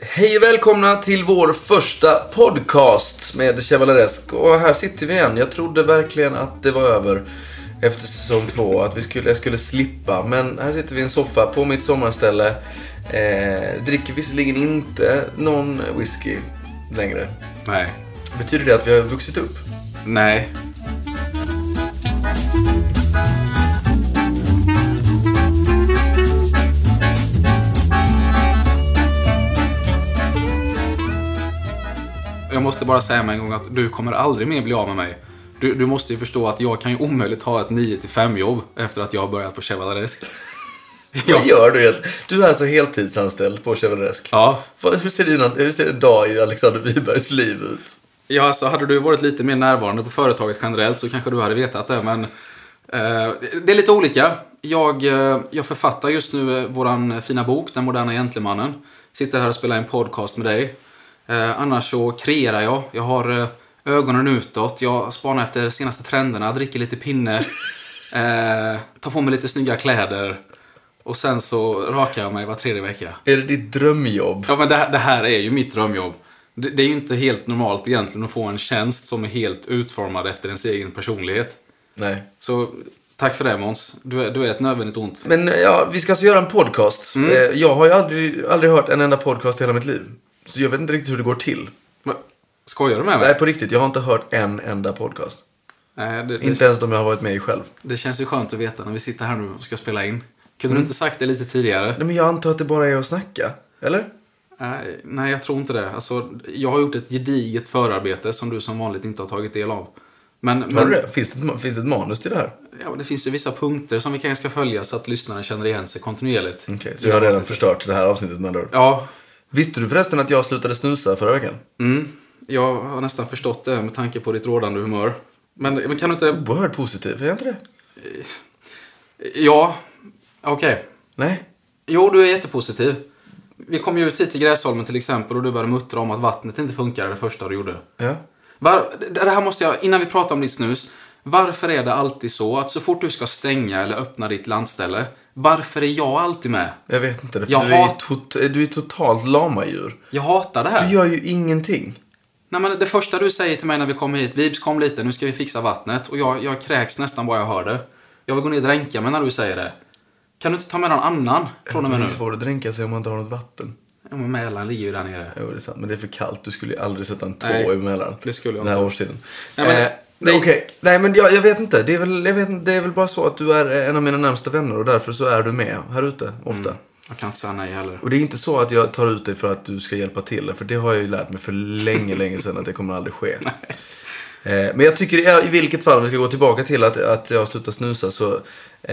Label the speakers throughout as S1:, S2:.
S1: Hej och välkomna till vår första podcast med Chevaleresk. Och här sitter vi igen. Jag trodde verkligen att det var över efter säsong två. Att vi skulle, jag skulle slippa. Men här sitter vi i en soffa på mitt sommarställe. Eh, dricker visserligen inte någon whisky längre.
S2: Nej.
S1: Betyder det att vi har vuxit upp?
S2: Nej. Jag måste bara säga med en gång att du kommer aldrig mer bli av med mig. Du, du måste ju förstå att jag kan ju omöjligt ha ett 9 till 5 jobb efter att jag har börjat på Chevaleresk.
S1: Vad gör du egentligen? Du är alltså heltidsanställd på Chevaleresk.
S2: Ja.
S1: Vad- Hur ser, dina, hur ser en dag i Alexander Wibergs liv ut?
S2: Ja, alltså hade du varit lite mer närvarande på företaget generellt så kanske du hade vetat det, men eh, det är lite olika. Jag, eh, jag författar just nu eh, våran fina bok, Den moderna gentlemannen. Sitter här och spelar en podcast med dig. Eh, annars så kreerar jag. Jag har eh, ögonen utåt, jag spanar efter senaste trenderna, dricker lite pinne, eh, tar på mig lite snygga kläder och sen så rakar jag mig var tredje vecka.
S1: Är det ditt drömjobb?
S2: Ja, men det, det här är ju mitt drömjobb. Det, det är ju inte helt normalt egentligen att få en tjänst som är helt utformad efter ens egen personlighet.
S1: Nej.
S2: Så tack för det Måns. Du, är- du är ett nödvändigt ont.
S1: Men ja, vi ska alltså göra en podcast.
S2: Mm.
S1: Eh, Jag har ju aldrig, aldrig hört en enda podcast i hela mitt liv. Så jag vet inte riktigt hur det går till.
S2: Men, skojar du med mig?
S1: Nej, på riktigt. Jag har inte hört en enda podcast.
S2: Nej, det, det,
S1: Inte ens de jag har varit med i själv.
S2: det känns ju skönt att veta när vi sitter här nu och ska spela in. Kunde du
S1: Mm.
S2: inte sagt det lite tidigare?
S1: Nej, men jag antar att det bara är att snacka. Eller?
S2: Nej, nej, jag tror inte det. Alltså, jag har gjort ett gediget förarbete som du som vanligt inte har tagit del av. Men,
S1: Har
S2: men,
S1: du det? Finns det, ett ma- finns det ett manus till det här?
S2: Ja, men det finns ju vissa punkter som vi kanske ska följa så att lyssnaren känner igen sig kontinuerligt.
S1: Okej, så jag har redan förstört det här avsnittet med andra ord.
S2: Ja,
S1: Visste du förresten att jag slutade snusa förra veckan?
S2: Mm, jag har nästan förstått det med tanke på ditt rådande humör. Men, men kan du inte...
S1: Oerhört positiv, är jag inte det?
S2: Ja, okej.
S1: Nej.
S2: Jo, du är jättepositiv. Vi kom ju ut hit till Gräsholmen till exempel och du började muttra om att vattnet inte funkade det första du gjorde.
S1: Ja.
S2: Var, det- det här måste jag, innan vi pratar om ditt snus. Varför är det alltid så att så fort du ska stänga eller öppna ditt landställe, varför är jag alltid med?
S1: Jag vet inte det. för
S2: Jag
S1: du, är
S2: hat-
S1: tot- du är totalt lamadjur.
S2: Jag hatar det här.
S1: Du gör ju ingenting.
S2: Nej, men det första du säger till mig när vi kommer hit, Vibs kom lite, nu ska vi fixa vattnet. Och jag, jag kräks nästan bara jag hör det. Jag vill gå ner och dränka mig när du säger det. Kan du inte ta med någon annan från och med
S1: det
S2: nu?
S1: är svårt att dränka sig om man inte har något vatten.
S2: Ja, men Mälaren ligger ju där nere.
S1: Jo, det är sant. Men det är för kallt. Du skulle ju aldrig sätta en tå
S2: Nej,
S1: i Mälaren.
S2: det skulle jag
S1: Den här
S2: inte.
S1: årstiden.
S2: Nej, men
S1: eh,
S2: det-
S1: nej, okej. Nej, men jag, jag vet inte. Det är, väl, jag vet inte. det är väl bara så att du är en av mina närmsta vänner och därför så är du med här ute ofta.
S2: Jag kan inte säga nej heller.
S1: Och det är inte så att jag tar ut dig för att du ska hjälpa till. För det har jag ju lärt mig för länge, länge sedan att det kommer aldrig ske. Eh, Men jag tycker i- i vilket fall, om vi ska gå tillbaka till att, att jag slutar snusa så eh,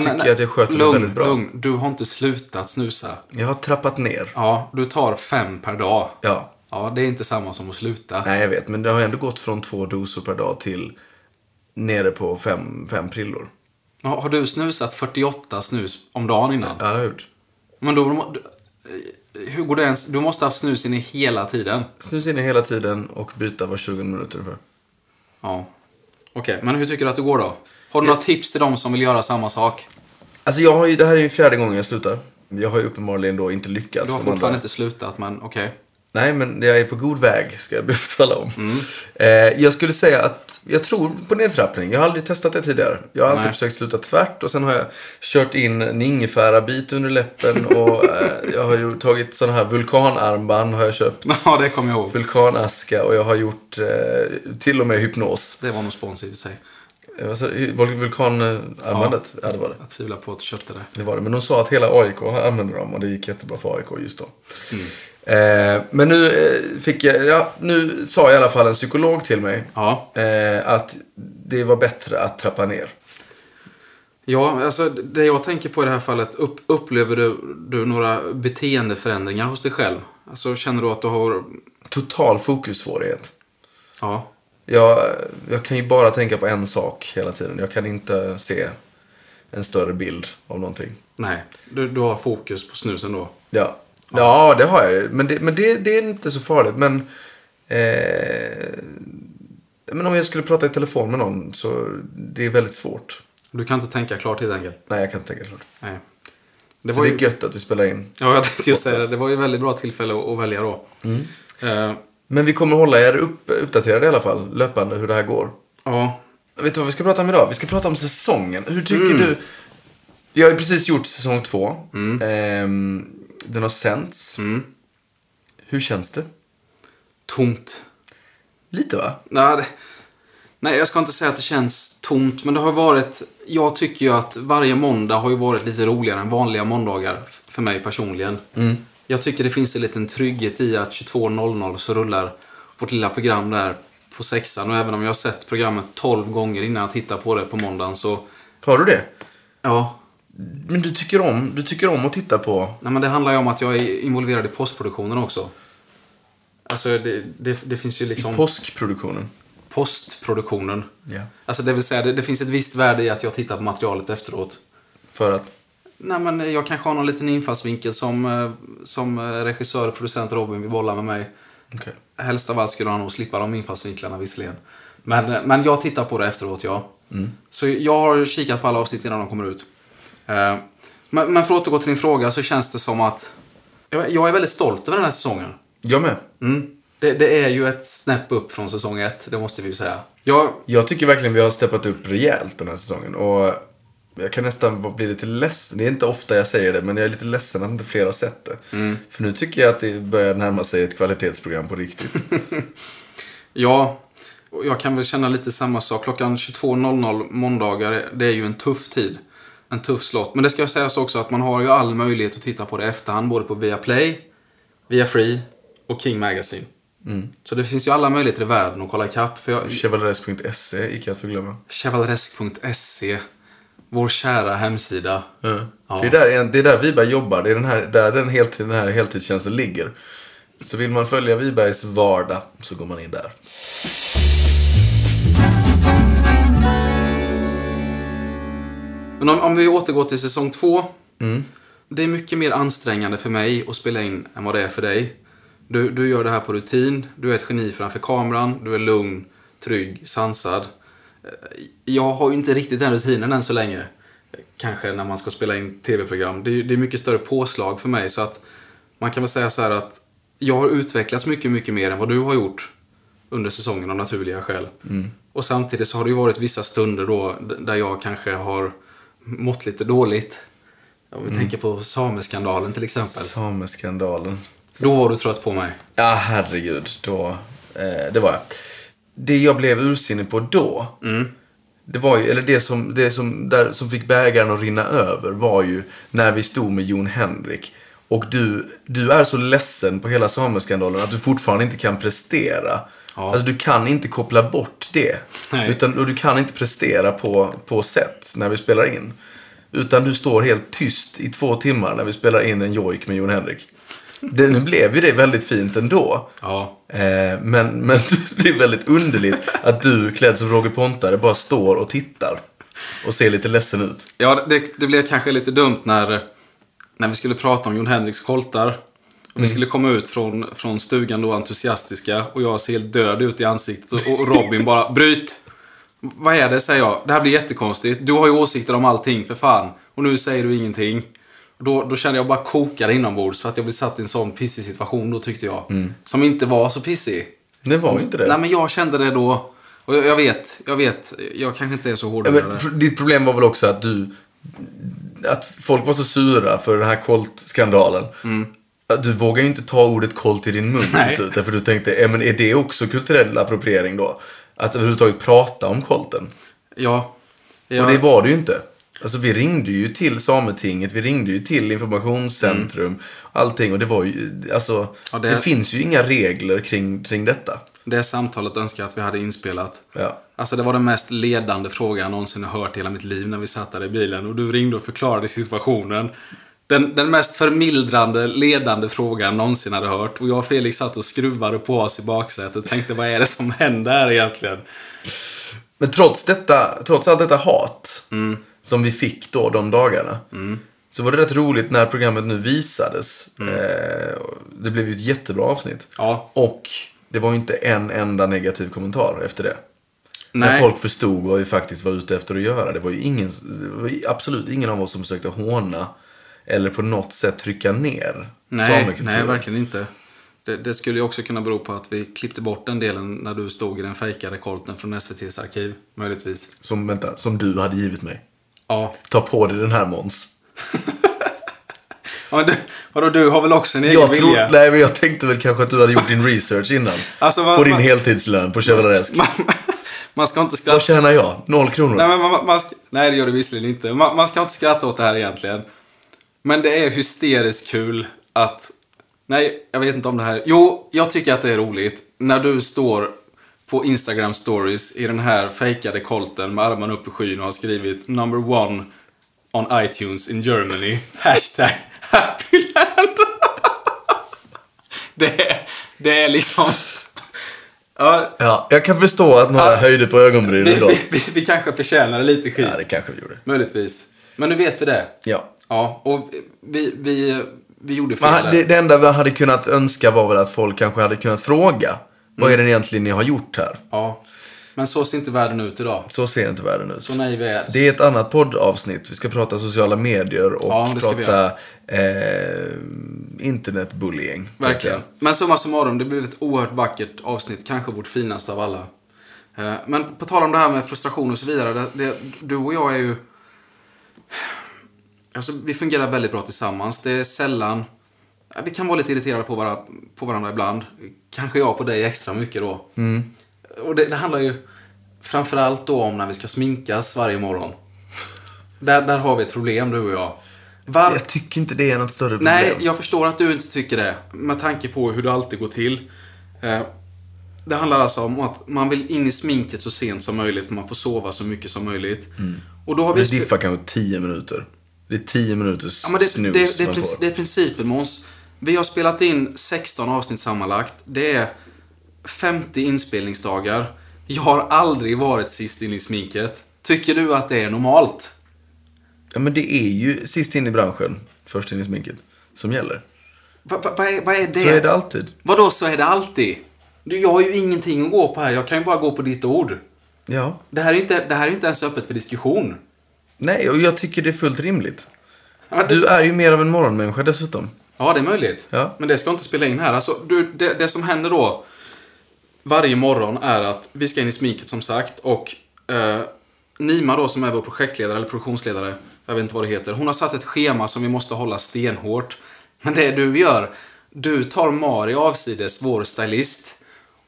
S1: tycker jag att jag sköter mig
S2: lugn,
S1: väldigt bra.
S2: Lugn, du har inte slutat snusa.
S1: Jag har trappat ner.
S2: Ja, du tar fem per dag.
S1: Ja,
S2: Ja, det är inte samma som att sluta.
S1: Nej, jag vet. Men det har ändå gått från två dosor per dag till nere på fem, fem prillor.
S2: Har har du snusat 48 snus om dagen innan?
S1: Ja, det har jag gjort.
S2: Men då... må- du- Hur går det ens? Du måste ha haft snus inne hela tiden.
S1: Snus inne hela tiden och byta var 20 minuter ungefär.
S2: Ja. Okej, men hur tycker du att det går då? Har du några tips till dem som vill göra samma sak?
S1: Alltså, jag har ju, det här är ju fjärde gången jag slutar. Jag har ju uppenbarligen då inte lyckats.
S2: Du
S1: som
S2: har
S1: andra.
S2: fortfarande inte slutat, men okej.
S1: Nej, men jag är på god väg, ska jag tala om. Eh, jag skulle säga att jag tror på nedtrappning. Jag har aldrig testat det tidigare. Jag har alltid
S2: Nej.
S1: försökt sluta tvärt och sen har jag kört in en ingefärabit under läppen och eh, jag har ju tagit sådana här vulkanarmband har jag köpt.
S2: Ja, det kommer jag ihåg.
S1: vulkanaska och jag har gjort eh, till och med hypnos.
S2: Det var nog spons i och för sig.
S1: Eh, vad sa du? Vul- Vulkanarmbandet? Ja. det var det.
S2: Jag tvivlar på att du köpte det.
S1: det var det. Men de sa att hela AIK använde dem och det gick jättebra för AIK just då. Eh, men nu eh, fick jag, ja, nu sa i alla fall en psykolog till mig
S2: Ja.
S1: eh, att det var bättre att trappa ner.
S2: Ja, alltså det jag tänker på i det här fallet. Upp, upplever du, du några beteendeförändringar hos dig själv? Alltså känner du att du har...
S1: Total fokussvårighet.
S2: Ja.
S1: Jag, jag kan ju bara tänka på en sak hela tiden. Jag kan inte se en större bild av någonting.
S2: Nej. Du, du har fokus på snusen då.
S1: Ja, ja det har jag ju. Men det, men det, det är inte så farligt. Men, eh, men om jag skulle prata i telefon med någon så det är väldigt svårt.
S2: Du kan inte tänka klart helt enkelt.
S1: Nej, jag kan inte tänka klart.
S2: Nej. Det
S1: så
S2: var ju,
S1: det är Mm. gött att vi spelar in.
S2: ja, jag tänkte just säga det. Det var ju väldigt bra tillfälle att, att välja då. Eh,
S1: Men vi kommer hålla er upp, uppdaterade i alla fall, löpande, hur det här går.
S2: ja,
S1: Vet du vad vi ska prata om idag? Vi ska prata om säsongen. Hur tycker
S2: Mm.
S1: du? Vi har ju precis gjort säsong två.
S2: Mm.
S1: Ehm, den har sänts. Hur känns det?
S2: tomt.
S1: Lite va?
S2: Nej, det- nej, jag ska inte säga att det känns tomt, men det har varit... Jag tycker ju att varje måndag har ju varit lite roligare än vanliga måndagar f- för mig personligen. Jag tycker det finns en liten trygghet i att 22.00 så rullar vårt lilla program där på sexan och även om jag har sett programmet 12 gånger innan jag tittar på det på måndagen så...
S1: Har du det?
S2: Ja,
S1: Men du tycker om, du tycker om att titta på...
S2: Nej, men det handlar ju om att jag är involverad i postproduktionen också. Alltså, det, det, det finns ju liksom...
S1: Påskproduktionen.
S2: postproduktionen.
S1: Mm. Ja.
S2: Alltså, det vill säga, det, det finns ett visst värde i att jag tittar på materialet efteråt.
S1: För att...
S2: Nej, men jag kanske har någon liten infallsvinkel som, eh, som eh, regissör och producent Robin vill bolla med mig.
S1: Okej.
S2: Helst av allt skulle han nog slippa de infallsvinklarna visserligen. Men, eh, men jag tittar på det efteråt, ja. Så jag har kikat på alla avsnitt innan de kommer ut. Eh, Men, men för att återgå till din fråga så känns det som att jag, jag är väldigt stolt över den här säsongen.
S1: Jag med.
S2: Mm. Det, det är ju ett snäpp upp från säsong ett, det måste vi ju säga. Jag,
S1: Jag tycker verkligen vi har steppat upp rejält den här säsongen. Och jag kan nästan bli lite ledsen. Det är inte ofta jag säger det, men jag är lite ledsen att inte fler har sett det. För nu tycker jag att det börjar närma sig ett kvalitetsprogram på riktigt.
S2: Ja, och jag kan väl känna lite samma sak. Klockan 22.00 måndagar, det är ju en tuff tid. En tuff slott. Men det ska jag säga så också att man har ju all möjlighet att titta på det i efterhand. Både på Viaplay, Viafree och King Magazine. Så det finns ju alla möjligheter i världen att kolla ikapp. För jag,
S1: Chevaleres.se, icke att förglömma.
S2: chevaleresk.se, vår kära hemsida. Ja.
S1: Det, är där, det är där Wiberg jobbar. Det är den här, där den, heltid, den här heltidstjänsten ligger. Så vill man följa Wibergs vardag så går man in där.
S2: Men om, om vi återgår till säsong två. Det är mycket mer ansträngande för mig att spela in än vad det är för dig. Du, du gör det här på rutin, du är ett geni framför kameran, du är lugn, trygg, sansad. Eh, Jag har ju inte riktigt den rutinen än så länge. Eh, Kanske när man ska spela in tv-program. Det, är- det är mycket större påslag för mig så att man kan väl säga så här att jag har utvecklats mycket, mycket mer än vad du har gjort under säsongen av naturliga skäl. Och samtidigt så har det ju varit vissa stunder då d- där jag kanske har mått lite dåligt. Om vi tänker på sameskandalen till exempel.
S1: Alltså. Sameskandalen.
S2: Då var du trött på mig.
S1: Ja, herregud. Då, eh, det var jag. Det jag blev ursinnig på då,
S2: Mm.
S1: det var ju, eller det som, det som, där, som fick bägaren att rinna över var ju när vi stod med Jon Henrik. Och du, du är så ledsen på hela sameskandalen att du fortfarande inte kan prestera.
S2: Ja.
S1: Alltså du kan inte koppla bort det.
S2: Nej.
S1: Utan, och du kan inte prestera på, på sätt när vi spelar in. Utan du står helt tyst i två timmar när vi spelar in en jojk med Jon Henrik. Det, nu blev ju det väldigt fint ändå.
S2: Ja.
S1: Eh, men, men det är väldigt underligt att du klädd som Roger Pontare bara står och tittar. Och ser lite ledsen ut.
S2: Ja, det, det blev kanske lite dumt när, när vi skulle prata om Jon Henriks koltar. Och Vi skulle komma ut från, från stugan då entusiastiska och jag ser helt död ut i ansiktet och, och Robin bara bryt! Vad är det, säger jag. Det här blir jättekonstigt. Du har ju åsikter om allting för fan. Och nu säger du ingenting. Och Då, då kände jag bara kokade inombords för att jag blev satt i en sån pissig situation då tyckte jag. Som inte var så pissig.
S1: Det var ju inte det.
S2: Nej men jag kände det då. Och jag, jag vet, jag vet. Jag kanske inte är så hård
S1: Ja,
S2: med
S1: men,
S2: det.
S1: pro- ditt problem var väl också att du... Att folk var så sura för den här koltskandalen. Att Du vågar ju inte ta ordet kolt i din mun
S2: Mm. Nej.
S1: till slut. Därför du tänkte, ja, men är det också kulturell appropriering då? Att överhuvudtaget prata om kolten.
S2: Ja.
S1: Och
S2: Jag-
S1: det var det ju inte. Alltså vi ringde ju till Sametinget, vi ringde ju till informationscentrum, allting. Och det var ju, alltså,
S2: Mm. Ja, det-
S1: det... finns ju inga regler kring, kring detta.
S2: Det samtalet önskar jag att vi hade inspelat.
S1: Ja.
S2: Alltså det var den mest ledande frågan jag någonsin har hört i hela mitt liv när vi satt där i bilen och du ringde och förklarade situationen. Den, den mest förmildrande, ledande frågan jag någonsin hade hört. Och jag och Felix satt och skruvade på oss i baksätet och tänkte vad är det som händer här egentligen?
S1: Men trots, detta, trots allt detta hat
S2: Mm.
S1: som vi fick då de dagarna. Så var det rätt roligt när programmet nu visades.
S2: Mm.
S1: Eh, och det blev ju ett jättebra avsnitt.
S2: Ja,
S1: Och det var ju inte en enda negativ kommentar efter det. När
S2: nej.
S1: folk förstod vad vi faktiskt var ute efter att göra. Det var ju ingen, det var ju absolut ingen av oss som försökte håna eller på något sätt trycka ner
S2: Nej,
S1: samekultur.
S2: nej, verkligen inte. Det, det skulle ju också kunna bero på att vi klippte bort den delen när du stod i den fejkade kolten från SVTs arkiv, möjligtvis.
S1: som, vänta, som du hade givit mig.
S2: Ja.
S1: Ta på dig den här Måns.
S2: ja men du, vadå, du har väl också en egen
S1: Jag, tror,
S2: vilja?
S1: nej, men jag tänkte väl kanske att du hade gjort din research innan.
S2: Alltså, vad-
S1: på din
S2: vad-
S1: heltidslön på Chevalaresk.
S2: Man, man ska inte skratta.
S1: Vad tjänar jag? Noll kronor.
S2: Nej, men man, man, man ska, nej, det gör det visserligen inte. Man, man ska inte skratta åt det här egentligen. Men det är hysteriskt kul att... Nej, jag vet inte om det här... Jo, jag tycker att det är roligt när du står på Instagram stories i den här fejkade kolten med armarna upp i skyn och har skrivit number one on iTunes in Germany. Hashtag happyland. det, är- det är liksom... Ja,
S1: Ja, jag kan förstå att några
S2: Ja.
S1: höjde på ögonbrynen
S2: vi,
S1: idag.
S2: vi, vi, vi kanske förtjänar lite skit.
S1: Ja, det kanske vi gjorde.
S2: Möjligtvis. Men nu vet vi det.
S1: Ja.
S2: Ja, och vi, vi, vi gjorde fel.
S1: Man,
S2: där.
S1: det, det enda vi hade kunnat önska var väl att folk kanske hade kunnat fråga. Vad
S2: Mm.
S1: är det egentligen ni har gjort här?
S2: Ja. Men så ser inte världen ut idag.
S1: Så ser inte världen ut.
S2: Så naiv är
S1: Det är ett annat poddavsnitt. Vi ska prata sociala medier och
S2: Ja, det ska vi
S1: prata eh, internetbullying. tänkte jag.
S2: Verkligen. Men summa summarum, det blev ett oerhört vackert avsnitt. Kanske vårt finaste av alla. Eh, Men på tal om det här med frustration och så vidare. Det, det, du och jag är ju... Alltså, vi fungerar väldigt bra tillsammans. Det är sällan... ja, Vi kan vara lite irriterade på varandra, på varandra ibland. Kanske jag på dig extra mycket då.
S1: Mm.
S2: Och det, det handlar ju framförallt då om när vi ska sminkas varje morgon. Där, där har vi ett problem, du och jag. Var,
S1: Jag tycker inte det är något större problem.
S2: Nej, jag förstår att du inte tycker det. Med tanke på hur det alltid går till. Eh, Det handlar alltså om att man vill in i sminket så sent som möjligt för man får sova så mycket som möjligt.
S1: Mm.
S2: Och då har vi...
S1: Vi diffar kanske 10 minuter. Det är 10 minuters
S2: Ja, men det, det,
S1: snus
S2: det, är
S1: man
S2: princi-
S1: får.
S2: det är principen Måns. Vi har spelat in 16 avsnitt sammanlagt. Det är 50 inspelningsdagar. Jag har aldrig varit sist in i sminket. Tycker du att det är normalt?
S1: Ja, men det är ju sist in i branschen, först in i sminket, som gäller.
S2: Va- va- Vad är, vad är det?
S1: Så är det alltid.
S2: Vadå så är det alltid? Du, jag har ju ingenting att gå på här. Jag kan ju bara gå på ditt ord.
S1: Ja.
S2: Det här är inte, det här är inte ens öppet för diskussion.
S1: Nej, och jag tycker det är fullt rimligt.
S2: Ja, men det-
S1: Du är ju mer av en morgonmänniska dessutom.
S2: Ja, det är möjligt.
S1: Ja.
S2: Men det ska jag inte spela in här. Alltså, du, det, det som händer då varje morgon är att vi ska in i sminket som sagt och eh, Nima då som är vår projektledare eller produktionsledare, jag vet inte vad det heter, hon har satt ett schema som vi måste hålla stenhårt. Men det du gör, du tar Mari avsides, vår stylist,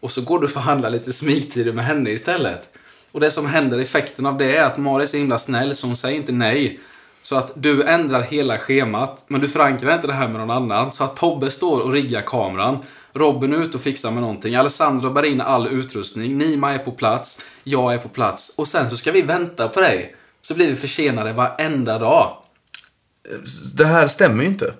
S2: och så går du och förhandlar lite sminktider med henne istället. Och det som händer, effekten av det är att Mari är så himla snäll så hon säger inte nej. Så att du ändrar hela schemat, men du förankrar inte det här med någon annan. Så att Tobbe står och riggar kameran. Robin är ute och fixar med någonting. Alessandro bär in all utrustning. Nima är på plats. Jag är på plats. Och sen så ska vi vänta på dig. Så blir vi försenade varenda dag.
S1: Det här stämmer ju inte.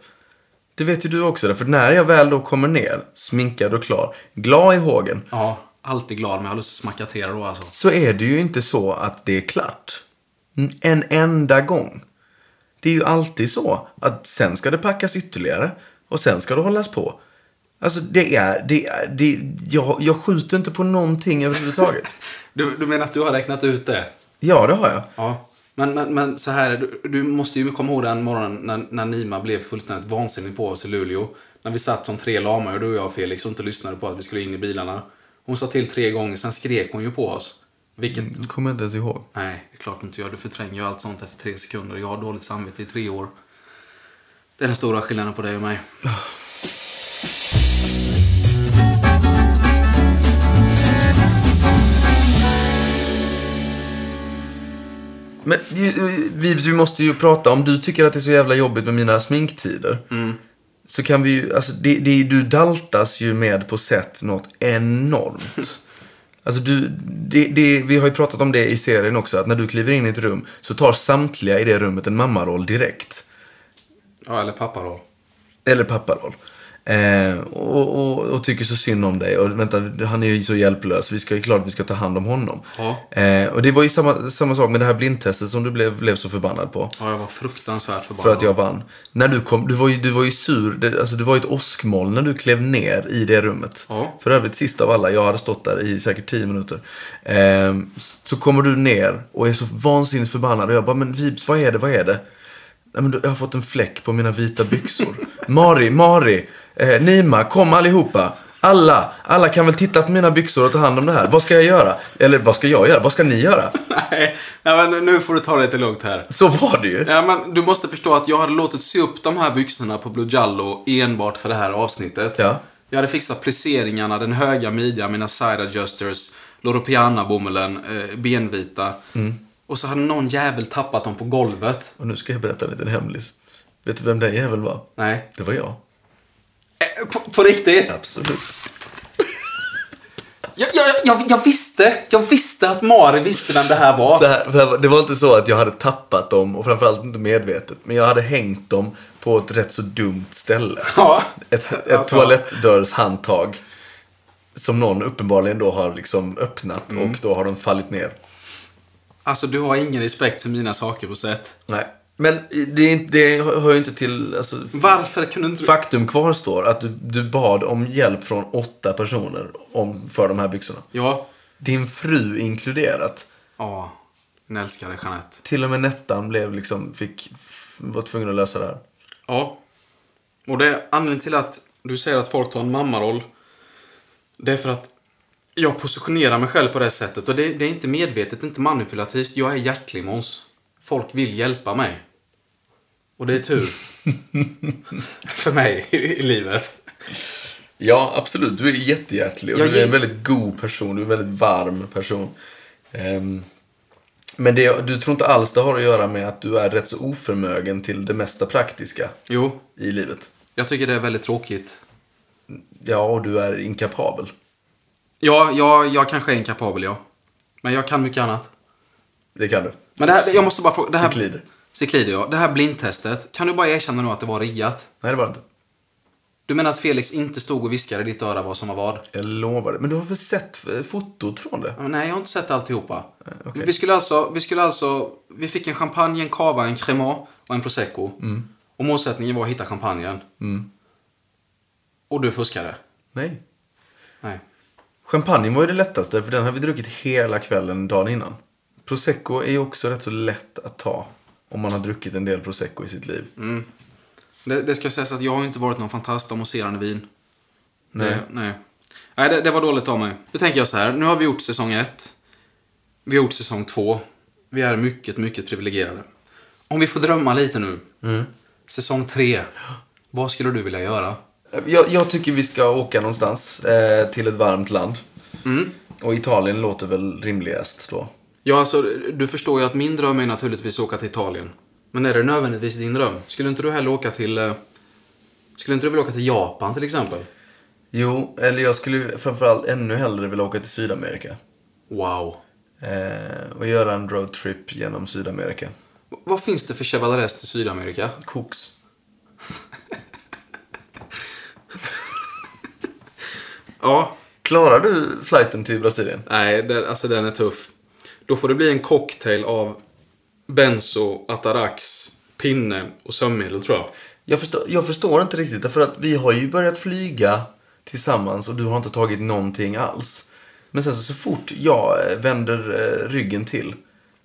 S1: Det vet ju du också, för när jag väl då kommer ner, sminkad och klar, glad i hågen,
S2: Ja, alltid glad men jag har lust att smacka till er då alltså.
S1: så är det ju inte så att det är klart. En enda gång. Det är ju alltid så att sen ska det packas ytterligare och sen ska det hållas på. Alltså det är, det är, det, jag, jag skjuter inte på någonting överhuvudtaget.
S2: Du, du menar att du har räknat ut det?
S1: Ja, det har jag.
S2: Ja. Men, men, men så här, är det. du, du måste ju komma ihåg den morgonen när, när Nima blev fullständigt vansinnig på oss i Luleå. När vi satt som tre lamor, och du och jag och Felix, och inte lyssnade på att vi skulle in i bilarna. Hon sa till tre gånger, sen skrek hon ju på oss. Vilket...
S1: Det kommer jag inte ens ihåg.
S2: Nej, det är klart du inte gör. Du förtränger ju allt sånt efter tre sekunder. Jag har dåligt samvete i tre år. Det är den stora skillnaden på dig och mig.
S1: Men vi, vi måste ju prata, om du tycker att det är så jävla jobbigt med mina sminktider. Så kan vi ju, alltså det, det, är ju- du daltas ju med på sätt något enormt. Alltså du, det, det, vi har ju pratat om det i serien också, att när du kliver in i ett rum så tar samtliga i det rummet en mammaroll direkt.
S2: Ja, eller pappa då.
S1: Eller papparoll. Eh, och, och, och tycker så synd om dig. Och vänta, han är ju så hjälplös. Vi ska ju klart vi ska ta hand om honom.
S2: Ja.
S1: Eh, och det var ju samma, samma sak med det här blindtestet som du blev, blev så förbannad på.
S2: Ja, jag var fruktansvärt förbannad.
S1: För att jag vann. När du kom, du var ju, du var ju sur. Det, alltså, du var ju ett åskmoln när du klev ner i det rummet.
S2: Ja.
S1: För övrigt sist av alla. Jag hade stått där i säkert 10 minuter. Ehm, så kommer du ner och är så vansinnigt förbannad. Och jag bara, men Vibs, vad är det? Vad är det? Nej, men då- jag har fått en fläck på mina vita byxor. Mari, Mari, eh, Nima, kom allihopa. Alla, alla kan väl titta på mina byxor och ta hand om det här. Vad ska jag göra? Eller vad ska jag göra? Vad ska ni göra?
S2: Nej, nej, men nu får du ta det lite lugnt här.
S1: Så var det ju.
S2: Ja, men du måste förstå att jag hade låtit sy upp de här byxorna på Blue Jallo enbart för det här avsnittet.
S1: Ja.
S2: Jag hade fixat plisseringarna, den höga midjan, mina side adjusters, Loro Piana-bomullen, eh, benvita. Och så hade någon jävel tappat dem på golvet.
S1: Och nu ska jag berätta en liten hemlis. Vet du vem den jäveln var?
S2: Nej.
S1: Det var jag.
S2: Eh, På, på riktigt?
S1: Absolut.
S2: Jag, jag, jag, jag visste! Jag visste att Mari visste vem det här var.
S1: Så här, för det var inte så att jag hade tappat dem och framförallt inte medvetet. Men jag hade hängt dem på ett rätt så dumt ställe.
S2: Ja.
S1: Ett, ett
S2: Alltså.
S1: toalettdörrshandtag. Som någon uppenbarligen då har liksom öppnat och då har de fallit ner.
S2: Alltså, du har ingen respekt för mina saker på sätt.
S1: Nej. Men det, är inte- det hör ju inte till... Alltså,
S2: Varför kunde inte du...
S1: faktum kvarstår att du, du bad om hjälp från åtta personer om, för de här byxorna.
S2: Ja.
S1: Din fru inkluderat.
S2: Ja. Den älskade Jeanette.
S1: Till och med Nettan blev liksom, fick, var tvungen att lösa det här.
S2: Ja. Och det är anledningen till att du säger att folk tar en mammaroll. Det är för att jag positionerar mig själv på det sättet. Och det, det är inte medvetet, inte manipulativt. Jag är hjärtlig Måns. Folk vill hjälpa mig. Och det är tur. för mig i, i livet.
S1: Ja, absolut. Du är jättehjärtlig och
S2: Jag
S1: du är en
S2: gill-
S1: väldigt god person. Du är en väldigt varm person. Ehm, men det, du tror inte alls det har att göra med att du är rätt så oförmögen till det mesta praktiska
S2: Jo,
S1: i livet.
S2: jag tycker det är väldigt tråkigt.
S1: Ja, och du är inkapabel.
S2: Ja, jag, jag kanske är inkapabel, ja. Men jag kan mycket annat.
S1: Det kan du.
S2: Men det här, jag måste bara fråga. det här-
S1: Ciklider.
S2: Ciklider, ja. Det här blindtestet. Kan du bara erkänna nu att det var riggat?
S1: Nej, det var det inte.
S2: Du menar att Felix inte stod och viskade i ditt öra vad som var vad?
S1: Jag lovar det. Men du har väl sett eh, fotot från det?
S2: Ja, Nej, jag har inte sett alltihopa.
S1: okej.
S2: Vi skulle alltså, vi skulle alltså, vi fick en champagne, en cava, en crema och en prosecco. Och målsättningen var att hitta champagnen. Och du fuskade?
S1: Nej.
S2: Nej.
S1: Champagne var ju det lättaste, för den har vi druckit hela kvällen dagen innan. Prosecco är ju också rätt så lätt att ta om man har druckit en del prosecco i sitt liv.
S2: Det, det ska sägas att jag har ju inte varit någon fantast av mousserande vin. Det, nej. Nej, det, det var dåligt av mig. Då tänker jag så här, nu har vi gjort säsong ett. Vi har gjort säsong två. Vi är mycket, mycket privilegierade. Om vi får drömma lite nu. Säsong tre. Vad skulle du vilja göra?
S1: Jag, jag tycker vi ska åka någonstans eh, till ett varmt land. Och Italien låter väl rimligast då.
S2: Ja, alltså, du förstår ju att min dröm är naturligtvis att åka till Italien. Men är det nödvändigtvis din dröm? Skulle inte du hellre åka till... eh, Skulle inte du vilja åka till Japan till exempel?
S1: Jo, eller jag skulle framförallt ännu hellre vilja åka till Sydamerika.
S2: Wow.
S1: Eh, och göra en roadtrip genom Sydamerika.
S2: V- vad finns det för Chevaleres till Sydamerika?
S1: Koks.
S2: Ja.
S1: Klarar du flighten till Brasilien?
S2: Nej, den, alltså den är tuff. Då får det bli en cocktail av benzo, atarax, pinne och sömnmedel tror jag.
S1: Jag förstår, jag förstår inte riktigt, därför att vi har ju börjat flyga tillsammans och du har inte tagit någonting alls. Men sen så, så fort jag eh, vänder eh, ryggen till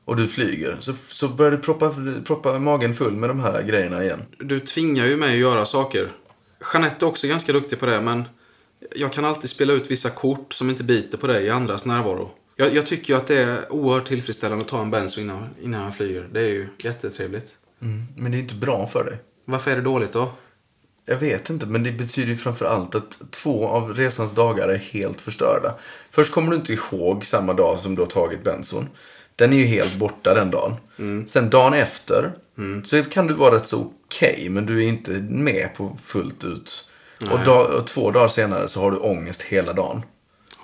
S1: och du flyger så, så börjar du proppa, proppa magen full med de här grejerna igen.
S2: Du tvingar ju mig att göra saker. Jeanette är också ganska duktig på det, men jag kan alltid spela ut vissa kort som inte biter på dig i andras närvaro. Jag, jag tycker ju att det är oerhört tillfredsställande att ta en benzo innan, innan jag flyger. Det är ju jättetrevligt.
S1: Mm. Men det är ju inte bra för dig.
S2: Varför är det dåligt då?
S1: Jag vet inte, men det betyder ju framför allt att två av resans dagar är helt förstörda. Först kommer du inte ihåg samma dag som du har tagit benson. Den är ju helt borta den dagen.
S2: Mm.
S1: Sen dagen efter så kan du vara rätt så okej, men du är inte med på fullt ut. Och, dag, och två dagar senare så har du ångest hela dagen.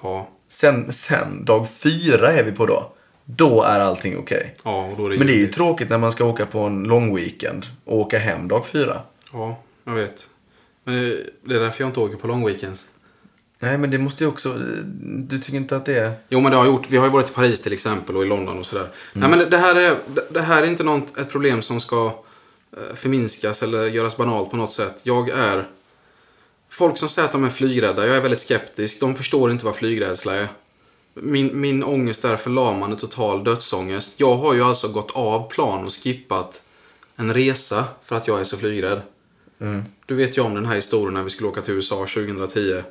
S2: Ja,
S1: Sen, sen dag fyra är vi på då. Då är allting okej.
S2: ja och då är det
S1: Men det är ju
S2: jobbigt.
S1: tråkigt när man ska åka på en lång weekend och åka hem dag fyra.
S2: Ja, jag vet. Men det- det är därför jag inte åker på long weekends.
S1: Nej, men det måste ju också... Du tycker inte att det är...
S2: Jo men det har jag gjort. Vi har ju varit i Paris till exempel och i London och sådär. Nej men det- det här är, det- det här är inte något, ett problem som ska eh, förminskas eller göras banalt på något sätt. Jag är... Folk som säger att de är flygrädda, jag är väldigt skeptisk. De förstår inte vad flygrädsla är. Min, min ångest är förlamande, total dödsångest. Jag har ju alltså gått av plan och skippat en resa för att jag är så flygrädd.
S1: Mm.
S2: Du vet ju om den här historien när vi skulle åka till USA 2010.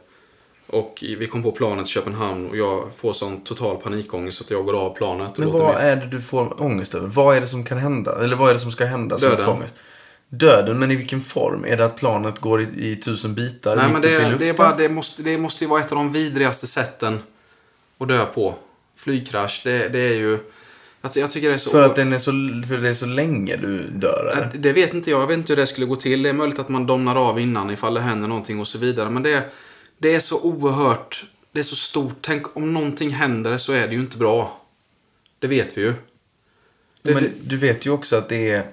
S2: Och i- vi kom på planet till Köpenhamn och jag får sån total panikångest att jag går av planet och
S1: Men
S2: låter
S1: vad
S2: mig...
S1: är det du får ångest över? Vad är det som kan hända? Eller vad är det som ska hända som du
S2: Döden.
S1: får ångest? Döden, men i vilken form? Är det att planet går i, i tusen bitar
S2: Nej
S1: mitt
S2: men
S1: uppe i
S2: det,
S1: luften?
S2: det, är bara, det, måste, det måste ju vara ett av de vidrigaste sätten att dö på. Flygkrasch, det, det är ju... Jag, ty- jag tycker det är så...
S1: För att den är så, för det är så länge du dör?
S2: Nej,
S1: Eller?
S2: Det vet inte jag. Jag vet inte hur det skulle gå till. Det är möjligt att man domnar av innan ifall det händer någonting och så vidare. Men det, det är så oerhört. Det är så stort. Tänk om någonting händer så är det ju inte bra. Det vet vi ju. Det,
S1: men
S2: det,
S1: du vet ju också att det är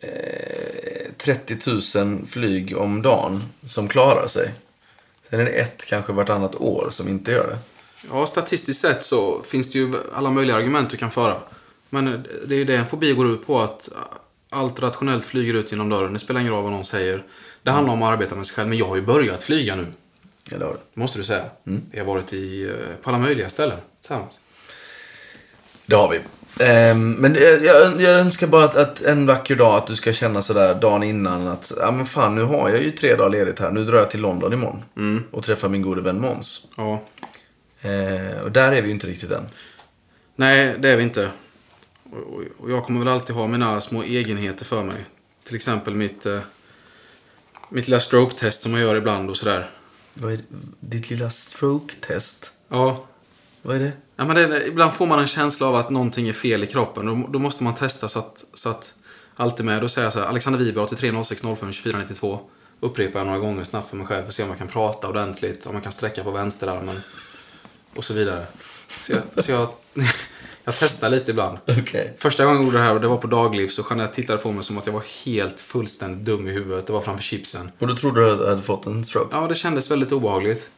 S1: eh, 30 000 flyg om dagen som klarar sig. Sen är det ett, kanske vartannat år, som inte gör det.
S2: ja, statistiskt sett så finns det ju alla möjliga argument du kan föra. Men det är ju det en fobi går ut på. Att allt rationellt flyger ut genom dörren. Det spelar ingen roll vad någon säger. Det handlar om att arbeta med sig själv. Men jag har ju börjat flyga nu.
S1: Eller har det?
S2: Det måste du säga. Vi har varit i, eh, på alla möjliga ställen tillsammans.
S1: Det har vi. Ehm, men eh, jag, jag önskar bara att, att en vacker dag att du ska känna sådär dagen innan att ja men fan nu har jag ju tre dagar ledigt här. Nu drar jag till London imorgon och träffar min gode vän Måns.
S2: Ja.
S1: Eh, och där är vi ju inte riktigt än.
S2: Nej, det är vi inte. Och- och- Och jag kommer väl alltid ha mina små egenheter för mig. Till exempel mitt, eh, mitt lilla stroke-test som jag gör ibland och sådär.
S1: Vad är ditt lilla stroke-test?
S2: Ja.
S1: Vad är det?
S2: ja men det, ibland får man en känsla av att någonting är fel i kroppen. Då, då måste man testa så att, så att allt är med. Då säger jag så här, Alexander Wiberg 8306052492. Upprepar jag några gånger snabbt för mig själv och ser om jag kan prata ordentligt, om jag kan sträcka på vänsterarmen och så vidare. Så jag, så jag, jag testar lite ibland.
S1: Okej.
S2: Första gången jag gjorde det här och det var på daglivs och Jeanette tittade på mig som att jag var helt fullständigt dum i huvudet. Det var framför chipsen.
S1: Och då trodde du att du hade fått en stroke?
S2: Ja, det kändes väldigt obehagligt.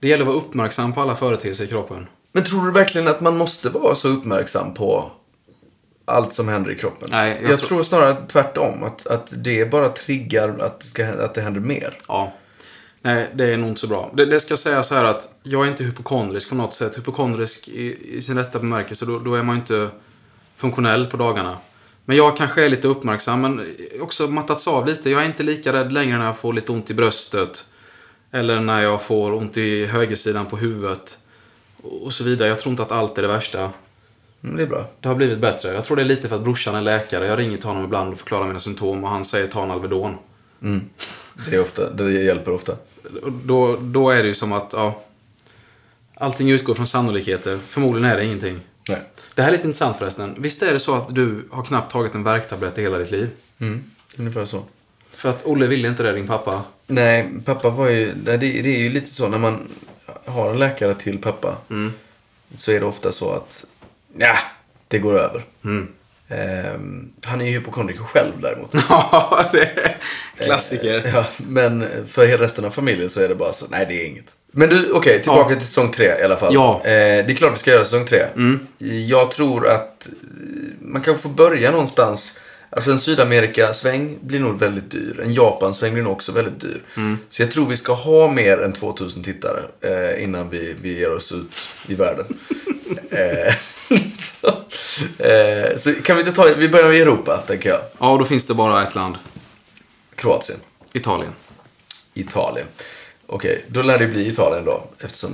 S2: Det gäller att vara uppmärksam på alla företeelser i kroppen.
S1: Men tror du verkligen att man måste vara så uppmärksam på allt som händer i kroppen?
S2: Nej,
S1: jag,
S2: jag tror-
S1: tror snarare tvärtom. Att, att det bara triggar att, det ska, hända- att det händer mer.
S2: Ja. Nej, det är nog inte så bra. Det, det ska sägas här att jag är inte hypokondrisk på något sätt. Hypokondrisk i, i sin rätta bemärkelse, då, då är man ju inte funktionell på dagarna. Men jag kanske är lite uppmärksam, men också mattats av lite. Jag är inte lika rädd längre när jag får lite ont i bröstet. Eller när jag får ont i högersidan på huvudet. Och och så vidare. Jag tror inte att allt är det värsta.
S1: Mm, det är bra.
S2: Det har blivit bättre. Jag tror det är lite för att brorsan är läkare. Jag ringer till honom ibland och förklarar mina symptom och han säger ta en Alvedon.
S1: Mm. Det, är ofta, det hjälper ofta.
S2: Och då, då är det ju som att, ja. Allting utgår från sannolikheter. Förmodligen är det ingenting.
S1: Nej.
S2: Det här är lite intressant förresten. Visst är det så att du har knappt tagit en värktablett i hela ditt liv?
S1: Mm. Ungefär så.
S2: För att Olle ville inte det, din pappa.
S1: Nej, pappa var ju... nej, Det, det är ju lite så när man har en läkare till pappa. Så är det ofta så att... Ja, det går över. Ehm, han är ju hypokondriker själv däremot.
S2: Ja, det är klassiker.
S1: Ja, men för hela resten av familjen så är det bara så, nej det är inget. Men du, okej, tillbaka till säsong tre i alla fall.
S2: Ja.
S1: Eh, det är klart vi ska göra säsong tre. Jag tror att eh, man kan få börja någonstans. Alltså en Sydamerika-sväng blir nog väldigt dyr. En Japan-sväng blir nog också väldigt dyr. Så jag tror vi ska ha mer än 2000 tittare eh, innan vi, vi ger oss ut i världen. eh, så, eh, så kan vi inte ta, vi börjar med Europa, tänker jag.
S2: Ja, då finns det bara ett land.
S1: Kroatien.
S2: Italien.
S1: Italien. Okej, då lär det bli Italien då. Eftersom...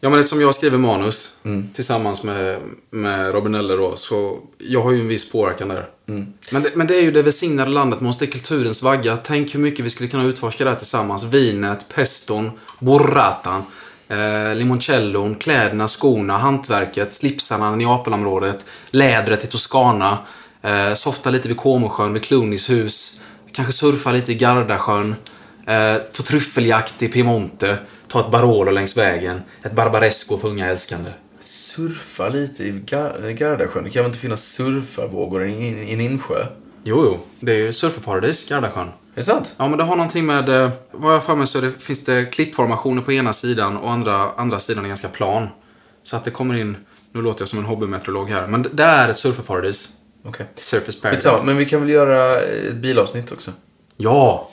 S2: Ja, men eftersom jag skriver manus tillsammans med, med Robinelle då, så jag har ju en viss påverkan där. Men, det, men det är ju det välsignade landet, måste det är kulturens vagga. Tänk hur mycket vi skulle kunna utforska där tillsammans. Vinet, peston, burratan, eh, limoncellon, kläderna, skorna, hantverket, slipsarna, Neapelområdet, lädret i Toscana, eh, softa lite vid Comosjön, vid Clunys hus, kanske surfa lite i Gardasjön. Eh, på tryffeljakt i Piemonte. Ta ett Barolo längs vägen. Ett Barbaresco för unga älskande.
S1: Surfa lite i Gar- Gardasjön. Det kan väl inte finnas surfarvågor i en- i en insjö?
S2: Jo, jo. Det är ju surferparadis, Gardasjön.
S1: Är det sant?
S2: Ja, men det har någonting med... eh, Vad jag har för mig så är det, finns det klippformationer på ena sidan och andra, andra sidan är ganska plan. Så att det kommer in... Nu låter jag som en hobbymeteorolog här, men det är ett surferparadis.
S1: Okej.
S2: Surface paradise.
S1: Skitsamma, men vi kan väl göra eh, ett bilavsnitt också.
S2: Ja!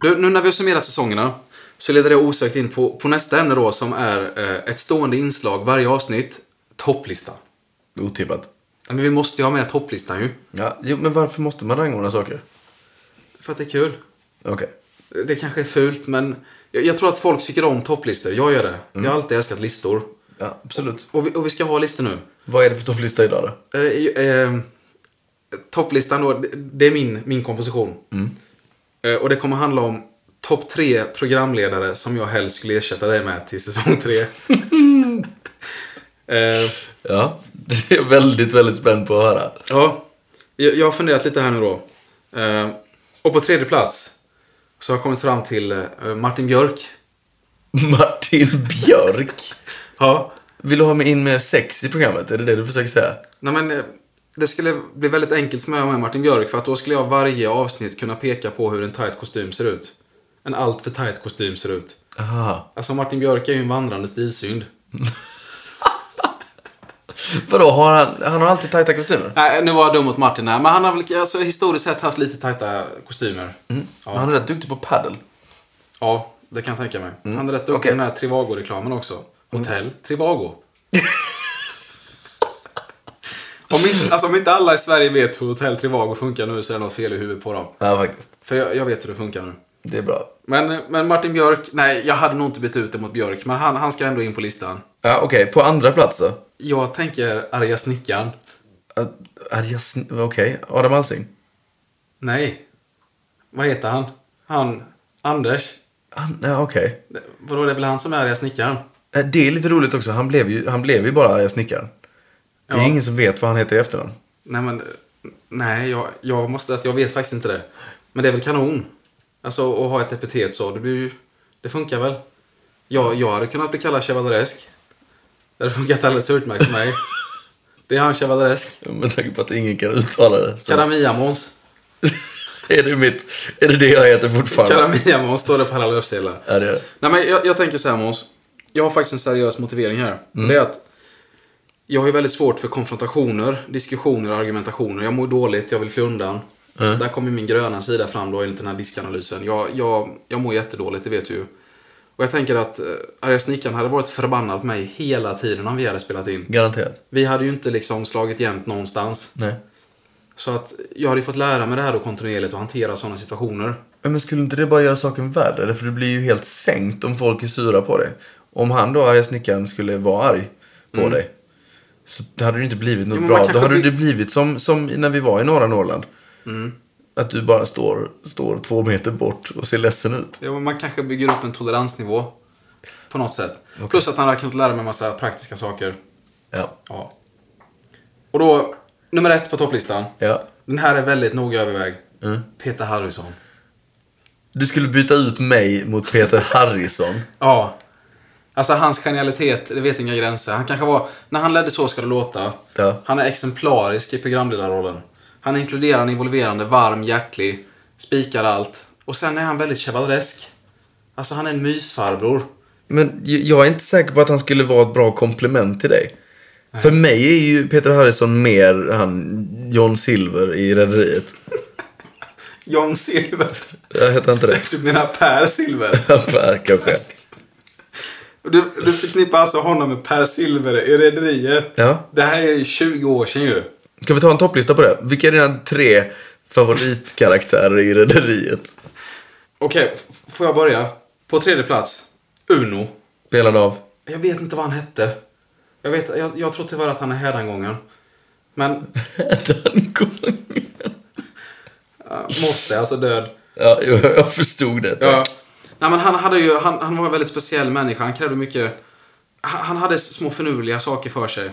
S2: Du, nu när vi har summerat säsongerna Så leder det osökt in på, på nästa ämne då som är eh, ett stående inslag varje avsnitt. Topplista.
S1: Otippat.
S2: Ja, Men vi måste ju ha med topplistan ju.
S1: Ja, jo, men varför måste man rangordna saker?
S2: För att det är kul.
S1: Okej.
S2: Det kanske är fult men jag, jag tror att folk tycker om topplistor. Jag gör det. Jag har alltid älskat listor.
S1: Ja, absolut.
S2: Och vi, och vi ska ha listor nu.
S1: Vad är det för topplista idag då?
S2: Eh, eh, topplistan då, det- det är min, min komposition. Eh, och det kommer handla om topp tre programledare som jag helst skulle ersätta dig med till säsong tre. eh,
S1: Ja, det är jag väldigt, väldigt spänd på att höra.
S2: ja, jag, jag har funderat lite här nu då. Eh, och på tredje plats så har jag kommit fram till eh, Martin Björk.
S1: Martin Björk?
S2: Ja,
S1: Vill du ha med in mer sex i programmet? Är det det du försöker säga?
S2: nej men eh, det skulle bli väldigt enkelt för mig att ha med Martin Björk för att då skulle jag varje avsnitt kunna peka på hur en tight kostym ser ut. En allt för tight kostym ser ut.
S1: Aha.
S2: Alltså Martin Björk är ju en vandrande stilsynd.
S1: Vadå, har han, han har alltid tajta kostymer?
S2: Nej, eh, nu var jag dum mot Martin här. Men han har väl alltså, historiskt sett haft lite tajta kostymer.
S1: Men Han är rätt duktig på paddel.
S2: Ja, det kan jag tänka mig. Han är rätt duktig
S1: Okej.
S2: i den här Trivago-reklamen också. Hotell Trivago. om, inte, alltså, om inte alla i Sverige vet hur Hotell Trivago funkar nu så är det något fel i huvudet på dem.
S1: Ja, faktiskt.
S2: För jag, jag vet hur det funkar nu.
S1: Det är bra.
S2: Men, men Martin Björk, nej jag hade nog inte bytt ut det mot Björk. Men han, han ska ändå in på listan.
S1: Ja, Okej, på andra plats då? Äh,
S2: Jag tänker arga snickaren.
S1: Att- Arga Sn- Okej, Adam Alsing.
S2: Nej. Vad heter han? Han... Anders?
S1: Han, ja, okej.
S2: Det- Vadå, det är väl han som är arga snickaren?
S1: Eh, Det är lite roligt också. Han blev ju, han blev ju bara arga snickaren. Det är
S2: Ja.
S1: ingen som vet vad han heter i efternamn.
S2: Nej, men... Nej, jag, jag måste... att Jag vet faktiskt inte det. Men det är väl kanon? Alltså, att ha ett epitet så. Det, blir, ju- det funkar väl? Jag, jag hade kunnat bli kallad chevaleresk. Det hade funkat alldeles utmärkt för mig. Det är han chevaleresk.
S1: Med tanke på att ingen kan uttala det. Så
S2: Karamiamons.
S1: är, det mitt, är det det jag heter fortfarande?
S2: Karamiamons står det på alla löpsedlar.
S1: Ja, det är det.
S2: Nej, men jag, jag tänker så här Måns. Jag har faktiskt en seriös motivering här. Det är att jag har ju väldigt svårt för konfrontationer, diskussioner och argumentationer. Jag mår dåligt, jag vill fly undan. Där kommer min gröna sida fram då enligt den här diskanalysen. Jag, jag, jag mår jättedåligt, det vet du ju. Och jag tänker att eh, arga snickaren hade varit förbannad på mig hela tiden om vi hade spelat in.
S1: Garanterat.
S2: Vi hade ju inte liksom slagit jämnt någonstans.
S1: Nej.
S2: Så att jag hade ju fått lära mig det här då kontinuerligt och hantera sådana situationer.
S1: Ja, Men skulle inte det bara göra saken värre? För det blir ju helt sänkt om folk är sura på dig. Om han då, arga snickaren, skulle vara arg på dig. Så det hade det ju inte blivit något
S2: Mm. Jo, men man
S1: bra. Då
S2: kanske
S1: hade
S2: blir-
S1: det blivit som, som när vi var i norra Norrland.
S2: Mm.
S1: Att du bara står, står två meter bort och ser ledsen ut.
S2: Ja, men man kanske bygger upp en toleransnivå. På något sätt. Plus att han hade kunnat lära mig en massa praktiska saker.
S1: Ja.
S2: Ja. Och då, nummer ett på topplistan.
S1: ja.
S2: Den här är väldigt noga övervägd.
S1: Mm.
S2: Peter Harrison.
S1: Du skulle byta ut mig mot Peter Harrison.
S2: Ja. Alltså hans genialitet, det vet inga gränser. Han kanske var, när han ledde Så ska det låta.
S1: Ja.
S2: Han är exemplarisk i programledarrollen. Han är inkluderande, involverande, varm, hjärtlig. Spikar allt. Och sen är han väldigt chevaleresk. Alltså han är en mysfarbror.
S1: Men j- jag är inte säker på att han skulle vara ett bra komplement till dig. För mig är ju Peter Harrison mer han John Silver i Rederiet.
S2: John Silver.
S1: Jag heter inte det.
S2: Du menar Per Silver?
S1: Per kanske.
S2: Du, du förknippar alltså honom med Per Silver i Rederiet.
S1: Ja.
S2: Det här är ju 20 år sedan ju.
S1: Kan vi ta en topplista på det? Vilka är dina tre favoritkaraktärer i Rederiet?
S2: Okej, f- får jag börja? På tredje plats, Uno.
S1: Spelad av?
S2: Jag vet inte vad han hette. Jag, vet, jag, jag tror tyvärr att han är hädangången. Men
S1: Den gången.
S2: äh, Motte, alltså död.
S1: Ja, jo, jag förstod det.
S2: Ja. Nej, men han, hade ju, han, han var en väldigt speciell människa. Han krävde mycket... Han, han hade små förnuliga saker för sig.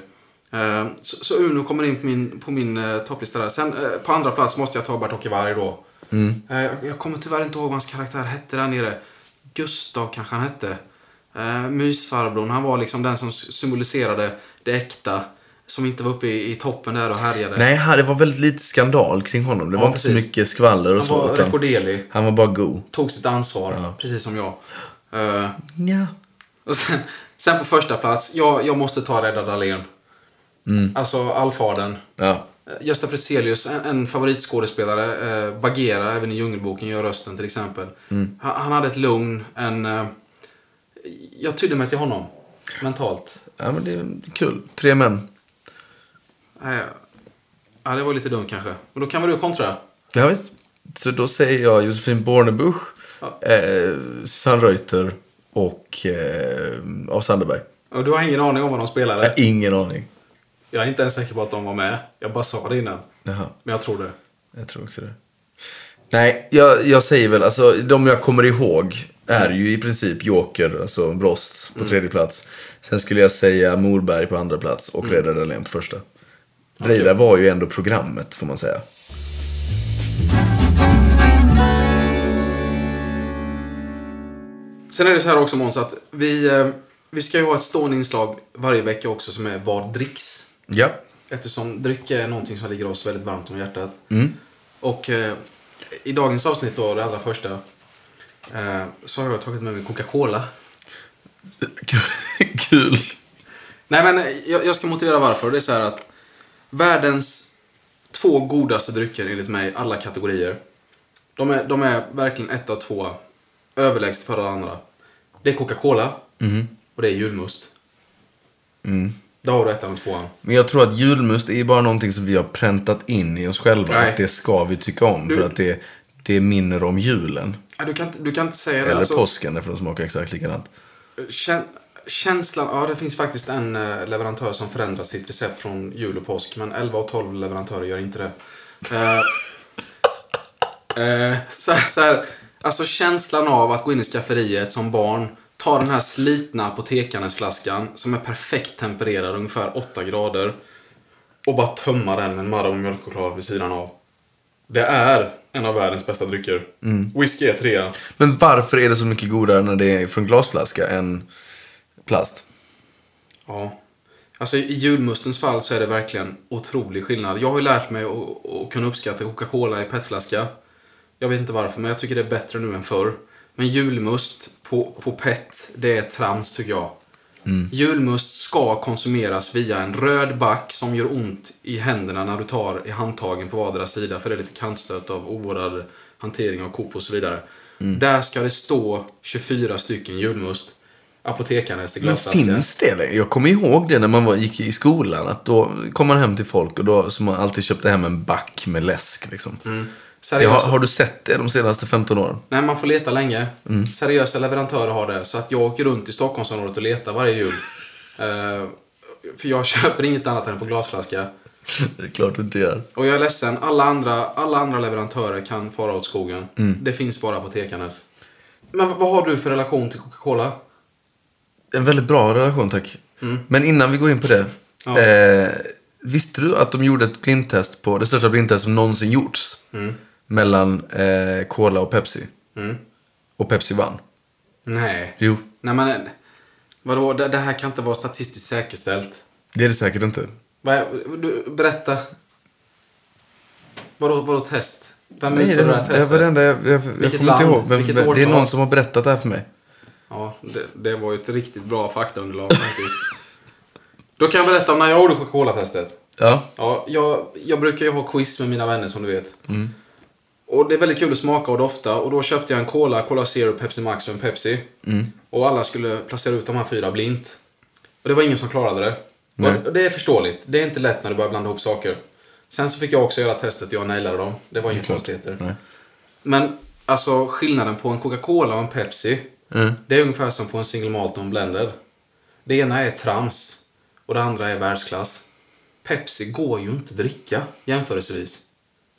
S2: Eh, så, så Uno kommer in på min, på min eh, topplista där. Sen eh, på andra plats måste jag ta Bartok Ivarg då. Eh, jag, jag kommer tyvärr inte ihåg vad hans karaktär hette där nere. Gustav kanske han hette. Uh, mysfarbrorn, han var liksom den som s- symboliserade det äkta. Som inte var uppe i, i toppen där och härjade.
S1: Nej, här- det var väldigt lite skandal kring honom. Det var inte så
S2: precis.
S1: mycket skvaller och
S2: han var
S1: så. Utan
S2: rekorderlig,
S1: han var bara go.
S2: tog sitt ansvar, precis som jag. Eh,
S1: Ja.
S2: Och sen, sen på första plats, jag, jag måste ta Rädda Dahlén. Alltså allfadern.
S1: Ja.
S2: Eh, Gösta Prexelius, en, en favoritskådespelare, eh, Bagheera, även i Djungelboken, gör rösten till exempel. Han, han hade ett lugn, en... Eh, jag tydde mig till honom, mentalt.
S1: Ja, men det är kul. Tre män.
S2: Nej, Eh, ja, det var lite dumt kanske. Men då kan väl du kontra?
S1: Ja, visst. Så då säger jag Josefin Bornebusch,
S2: Ja.
S1: eh, Susanne Reuter och eh, Av Sanderberg.
S2: Och du har ingen aning om vad de
S1: Jag
S2: spelade?
S1: har ingen aning.
S2: Jag är inte ens säker på att de var med. Jag bara sa det innan.
S1: Jaha,
S2: Men jag tror det.
S1: jag tror också det. Nej, jag, jag säger väl, alltså de jag kommer ihåg är ju i princip Joker, alltså Brost på tredje plats. Sen skulle jag säga Morberg på andra plats och Reidar Dahlén på första. Reidar var ju ändå programmet, får man säga.
S2: Sen är det så här också Måns att vi, eh, vi ska ju ha ett stående inslag varje vecka också som är Vad dricks?
S1: Ja.
S2: Eftersom dryck är någonting som ligger oss väldigt varmt om hjärtat. Och eh, i dagens avsnitt då, det allra första, eh, så har jag tagit med mig Coca-Cola.
S1: Kul.
S2: Nej men eh, jag, jag ska motivera varför. Det är så här att världens två godaste drycker enligt mig, alla kategorier. De är, de är verkligen ett av två överlägset för varandra. Det är Coca-Cola och det är julmust.
S1: Mm.
S2: Där har du ettan och tvåan.
S1: Men jag tror att julmust är ju bara någonting som vi har präntat in i oss själva.
S2: Nej.
S1: Att det ska vi tycka om. För att det, det minner om julen.
S2: Ja, du, kan, inte- du kan inte säga det.
S1: Eller
S2: alltså.
S1: påsken, för de smakar exakt likadant.
S2: Kän- Känslan, ja det finns faktiskt en eh, leverantör som förändrar sitt recept från jul och påsk. Men 11 och 12 leverantörer gör inte det. Eh, eh, så, här- så här, alltså känslan av att gå in i skafferiet som barn. Ta den här slitna apotekarnesflaskan som är perfekt tempererad, ungefär 8 grader. Och bara tömma den med en Marabou mjölkchoklad vid sidan av. Det är en av världens bästa drycker. Whisky är trea.
S1: Men varför är det så mycket godare när det är från glasflaska än plast?
S2: Ja. Alltså i julmustens fall så är det verkligen otrolig skillnad. Jag har ju lärt mig att, att kunna uppskatta Coca-Cola i petflaska. Jag vet inte varför, men jag tycker det är bättre nu än förr. Men julmust på, på pet, det är trams tycker jag.
S1: Mm.
S2: Julmust ska konsumeras via en röd back som gör ont i händerna när du tar i handtagen på vardera sida. För det är lite kantstöt av ovårdad hantering av kop och så vidare.
S1: Mm.
S2: Där ska det stå 24 stycken julmust. Apotekarnes i
S1: Men
S2: glasflaska.
S1: finns det längre? Jag kommer ihåg det när man var, gick i skolan. Att då kom man hem till folk och då som man alltid köpte hem en back med läsk. Liksom. Det, har,
S2: Seriösa,
S1: har du sett det de senaste 15 åren?
S2: Nej, man får leta länge.
S1: Mm.
S2: Seriösa leverantörer har det. Så att jag åker runt i Stockholmsområdet och letar varje jul. Eh, för jag köper inget annat än på glasflaska.
S1: det är klart du inte gör.
S2: Och jag är ledsen, alla andra, alla andra leverantörer kan fara åt skogen.
S1: Mm.
S2: Det finns bara apotekarnas. Men v- vad har du för relation till Coca-Cola?
S1: En väldigt bra relation, tack. Men innan vi går in på det.
S2: Ja.
S1: Eh, visste du att de gjorde ett blindtest på det största blindtest som någonsin gjorts? Mellan eh, Cola och Pepsi.
S2: Mm.
S1: Och Pepsi vann.
S2: Nej.
S1: Jo,
S2: Nej men, eh, vadå, det, det här kan inte vara statistiskt säkerställt.
S1: det är det säkert inte.
S2: Vad är, du, berätta. Vadå, vadå test? Vem
S1: Nej, det
S2: utförde det här
S1: var, det
S2: testet?
S1: var det enda jag, jag, jag
S2: Vilket
S1: kommer inte
S2: land?
S1: ihåg. Vem,
S2: Vilket
S1: vem, det är
S2: årtal?
S1: någon som har berättat det här för mig.
S2: Ja, det, det var ju ett riktigt bra faktaunderlag faktiskt. Då kan jag berätta om när jag gjorde Coca-Cola-testet.
S1: Ja.
S2: Ja, jag, jag brukar ju ha quiz med mina vänner som du vet. Och det är väldigt kul att smaka och dofta. Och då köpte jag en Cola, Cola Zero, Pepsi Max och en Pepsi. Och alla skulle placera ut de här fyra blint. Och det var ingen som klarade det.
S1: Nej.
S2: Och det är förståeligt. Det är inte lätt när du börjar blanda ihop saker. Sen så fick jag också göra testet och jag nailade dem. Det var inga konstigheter.
S1: Nej.
S2: Men alltså skillnaden på en Coca-Cola och en Pepsi.
S1: Mm.
S2: Det är ungefär som på en single malt och en blender. Det ena är trams och det andra är världsklass. Pepsi går ju inte att dricka jämförelsevis.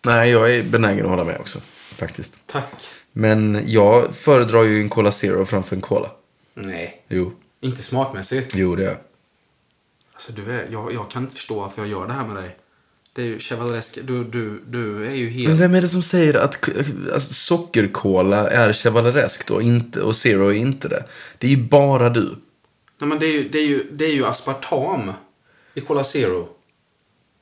S1: Nej, jag är benägen att hålla med också. Faktiskt.
S2: Tack.
S1: Men jag föredrar ju en Cola Zero framför en Cola.
S2: Nej.
S1: Jo,
S2: Inte smakmässigt.
S1: jo det gör jag.
S2: Alltså du är, jag, jag kan inte förstå varför jag gör det här med dig. Det är ju Chevaleresk, du, du, du är ju
S1: Men
S2: helt...
S1: vem är det som säger att k- alltså, sockerkola är chevalereskt och, inte, och zero är inte det? Det är ju bara du.
S2: Nej men det är ju, det är ju, det är ju aspartam i Cola Zero.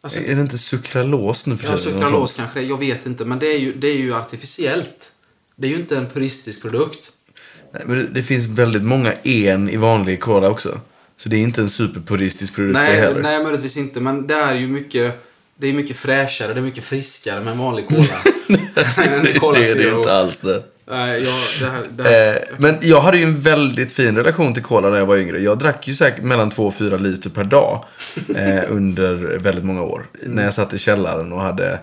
S2: Alltså-
S1: är det inte sukralos nu för tiden?
S2: Ja,
S1: Någon sån-
S2: sukralos Alltså, kanske det är, jag vet inte. Men det är, ju, det är ju artificiellt. Det är ju inte en puristisk produkt.
S1: Nej, men det, det finns väldigt många en i vanlig cola också. Så det är inte en superpuristisk produkt det
S2: Nej,
S1: heller.
S2: nej, möjligtvis inte. Men det är ju mycket Det är mycket fräschare, det är mycket friskare med en vanlig cola. än en Cola
S1: det är det ju
S2: Zero.
S1: inte alls det.
S2: Nej, jag, det här, det här.
S1: Eh, men jag hade ju en väldigt fin relation till cola när jag var yngre. Jag drack ju säkert mellan 2 och 4 liter per dag eh, under väldigt många år. När jag satt i källaren och hade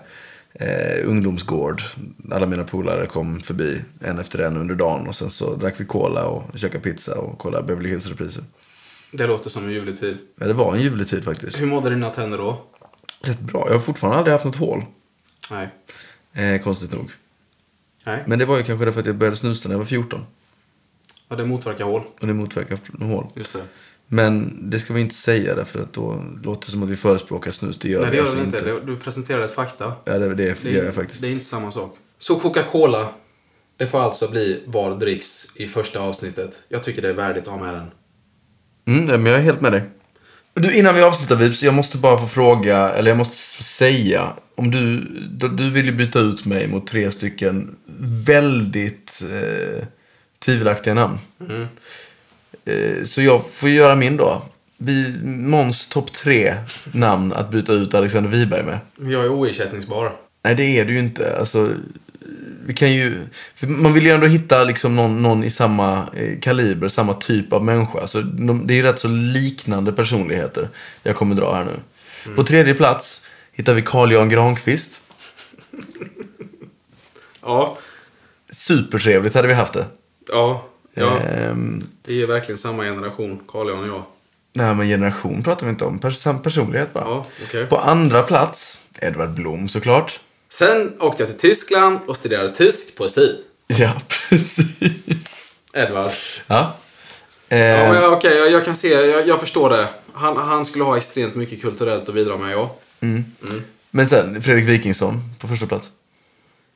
S1: eh, ungdomsgård. Alla mina polare kom förbi en efter en under dagen och sen så drack vi cola och käkade pizza och kollade Beverly Hills-repriser.
S2: det låter som en juletid.
S1: Ja, det var en juletid faktiskt.
S2: Hur mådde dina tänder då?
S1: Rätt bra. Jag har fortfarande aldrig haft något hål.
S2: Nej.
S1: Eh, konstigt nog.
S2: Nej.
S1: Men det var ju kanske därför att jag började snusa när jag var 14.
S2: Ja, det motverkar hål.
S1: Och det motverkar hål.
S2: Just det.
S1: Men det ska vi inte säga därför att då låter det som att vi förespråkar snus. Det gör
S2: Nej, det
S1: vi
S2: gör
S1: alltså
S2: det
S1: inte.
S2: inte. Det- Du presenterade ett fakta.
S1: Ja, det, det,
S2: Det
S1: gör
S2: är,
S1: jag faktiskt.
S2: det är inte samma sak. Så Coca-Cola, det får alltså bli var dricks i första avsnittet. Jag tycker det är värdigt att ha med den.
S1: Mm, nej, men jag är helt med dig. Du, innan vi avslutar Vips, jag måste bara få fråga, eller jag måste få säga. Om du, du, du vill ju byta ut mig mot tre stycken väldigt eh, tvivelaktiga namn.
S2: Mm.
S1: Eh, så jag får göra min då. Vi, Måns topp tre namn att byta ut Alexander Wiberg med.
S2: Men Jag är oersättningsbar.
S1: Nej, det är det ju inte. Alltså, vi kan ju, för man vill ju ändå hitta liksom någon, någon i samma eh, kaliber, samma typ av människa. Så de, det är ju rätt så liknande personligheter jag kommer dra här nu.
S2: Mm.
S1: På tredje plats hittar vi Carl-Jan Granqvist.
S2: Ja.
S1: Supertrevligt hade vi haft det.
S2: Ja. Ja.
S1: Ehm,
S2: Det är ju verkligen samma generation, Carl-Jan och jag.
S1: nej, men generation pratar vi inte om. Pers sam- personlighet bara.
S2: Ja, okej.
S1: På andra plats, Edvard Blom såklart.
S2: Sen åkte jag till Tyskland och studerade tysk poesi.
S1: Ja, precis.
S2: Edvard.
S1: Ja.
S2: Ja,
S1: Ehm,
S2: men jag- okej, jag, jag kan se, jag, jag förstår det. Han, han skulle ha extremt mycket kulturellt att bidra med, ja.
S1: men sen Fredrik Wikingsson på första plats.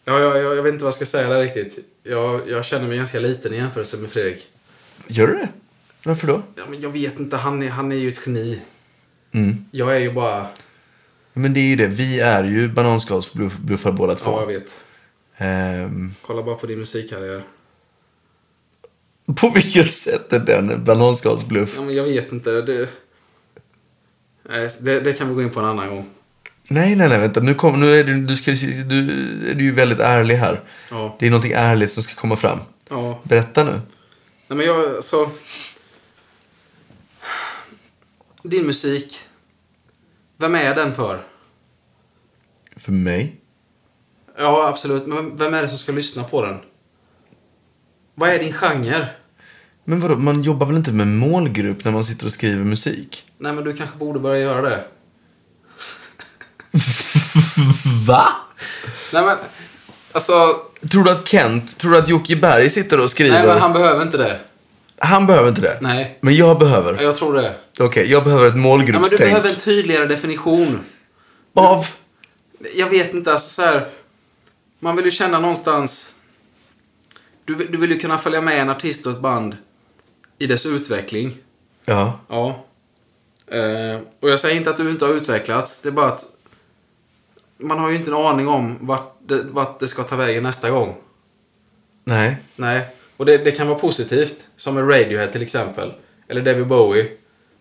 S2: Ja, jag, jag, jag vet inte vad jag ska säga där riktigt. Jag, jag känner mig ganska liten i jämförelse med Fredrik.
S1: Gör du det? Varför då?
S2: Ja, men jag vet inte, han är, han är ju ett geni.
S1: Mm.
S2: Jag är ju bara...
S1: Men det är ju det, vi är ju bananskalsbluffar båda
S2: Ja, jag
S1: två.
S2: vet.
S1: Ehm,
S2: Kolla bara på din musikkarriär.
S1: på vilket sätt är den en bananskalsbluff?
S2: Ja, men jag vet inte. Det, Nej, det, det kan vi gå in på en annan gång.
S1: Nej, nej, nej, vänta. Nu, kom, nu är, du, du, ska, du är du ju väldigt ärlig här.
S2: Ja.
S1: Det är någonting ärligt som ska komma fram.
S2: ja.
S1: Berätta nu.
S2: Nej, men jag, alltså... Din musik. Vem är den för?
S1: För mig?
S2: Ja, absolut. Men vem är det som ska lyssna på den? Vad är din genre?
S1: Men vadå, man jobbar väl inte med målgrupp när man sitter och skriver musik?
S2: Nej, men du kanske borde börja göra det.
S1: Va?
S2: Nej, men... Alltså...
S1: Tror du att Kent, tror du att Jocke Berg sitter och skriver?
S2: Nej, men
S1: han...
S2: han behöver inte det.
S1: behöver inte det.
S2: Nej.
S1: Men jag behöver.
S2: Ja,
S1: Okej,
S2: Jag tror det.
S1: jag behöver ett
S2: Ja, men du
S1: målgruppstänk.
S2: behöver en tydligare definition.
S1: Av?
S2: Jag vet inte, alltså så här. Man vill ju känna någonstans... Du, vill- du vill ju kunna följa med en artist och ett band i dess utveckling.
S1: Ja.
S2: Ja. Eh, och jag säger inte att du inte har utvecklats. Det är bara att man har ju inte en aning om vart det, vart det ska ta vägen nästa gång.
S1: Nej.
S2: Nej. Och det, det kan vara positivt. Som med Radiohead till exempel. Eller David Bowie.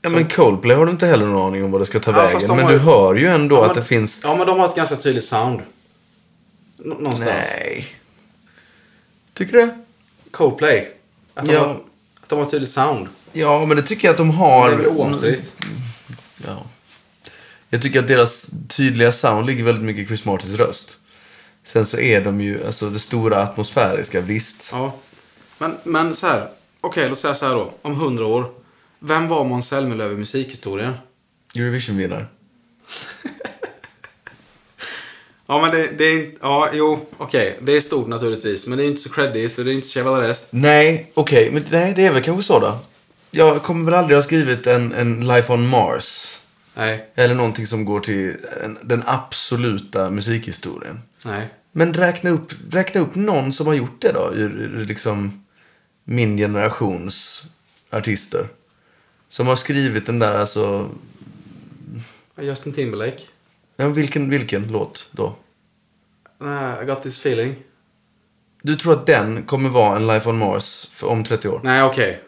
S1: Ja, men Coldplay har du inte heller någon aning om vad det ska ta
S2: Ja, fast
S1: vägen.
S2: de
S1: Men
S2: har
S1: du
S2: ju-
S1: hör ju ändå
S2: Ja,
S1: att
S2: men-
S1: det finns...
S2: Ja, men de har ett ganska tydligt sound. Nå- någonstans.
S1: Nej. Tycker du det?
S2: Coldplay. Att de,
S1: Ja.
S2: har, att de har ett tydligt sound.
S1: Ja, men det tycker jag att de har.
S2: Det är Mm. väl oomstritt.
S1: Ja. Jag tycker att deras tydliga sound ligger väldigt mycket i Chris Martins röst. Sen så är de ju, alltså det stora atmosfäriska, visst.
S2: Ja. Men, men så här. Okej, låt säga så här då. Om hundra år. Vem var Måns Zelmerlöw i musikhistorien?
S1: Eurovision-vinnare.
S2: Ja, men det, det är inte... Ja, jo. Okej, det är stort naturligtvis. Men det är inte så credit och det är inte så Chevaleres.
S1: Nej, okej, men nej, det är väl kanske så då. Jag kommer väl aldrig ha skrivit en, en Life on Mars.
S2: Nej.
S1: Eller någonting som går till en, den absoluta musikhistorien.
S2: Nej.
S1: Men räkna upp, räkna upp någon som har gjort det då, ur, ur liksom min generations artister. Som har skrivit den där, alltså,
S2: Justin Timberlake.
S1: ja, vilken, vilken låt då?
S2: Nej, I got this feeling.
S1: Du tror att den kommer vara en Life on Mars för, om 30 år?
S2: Nej, okej.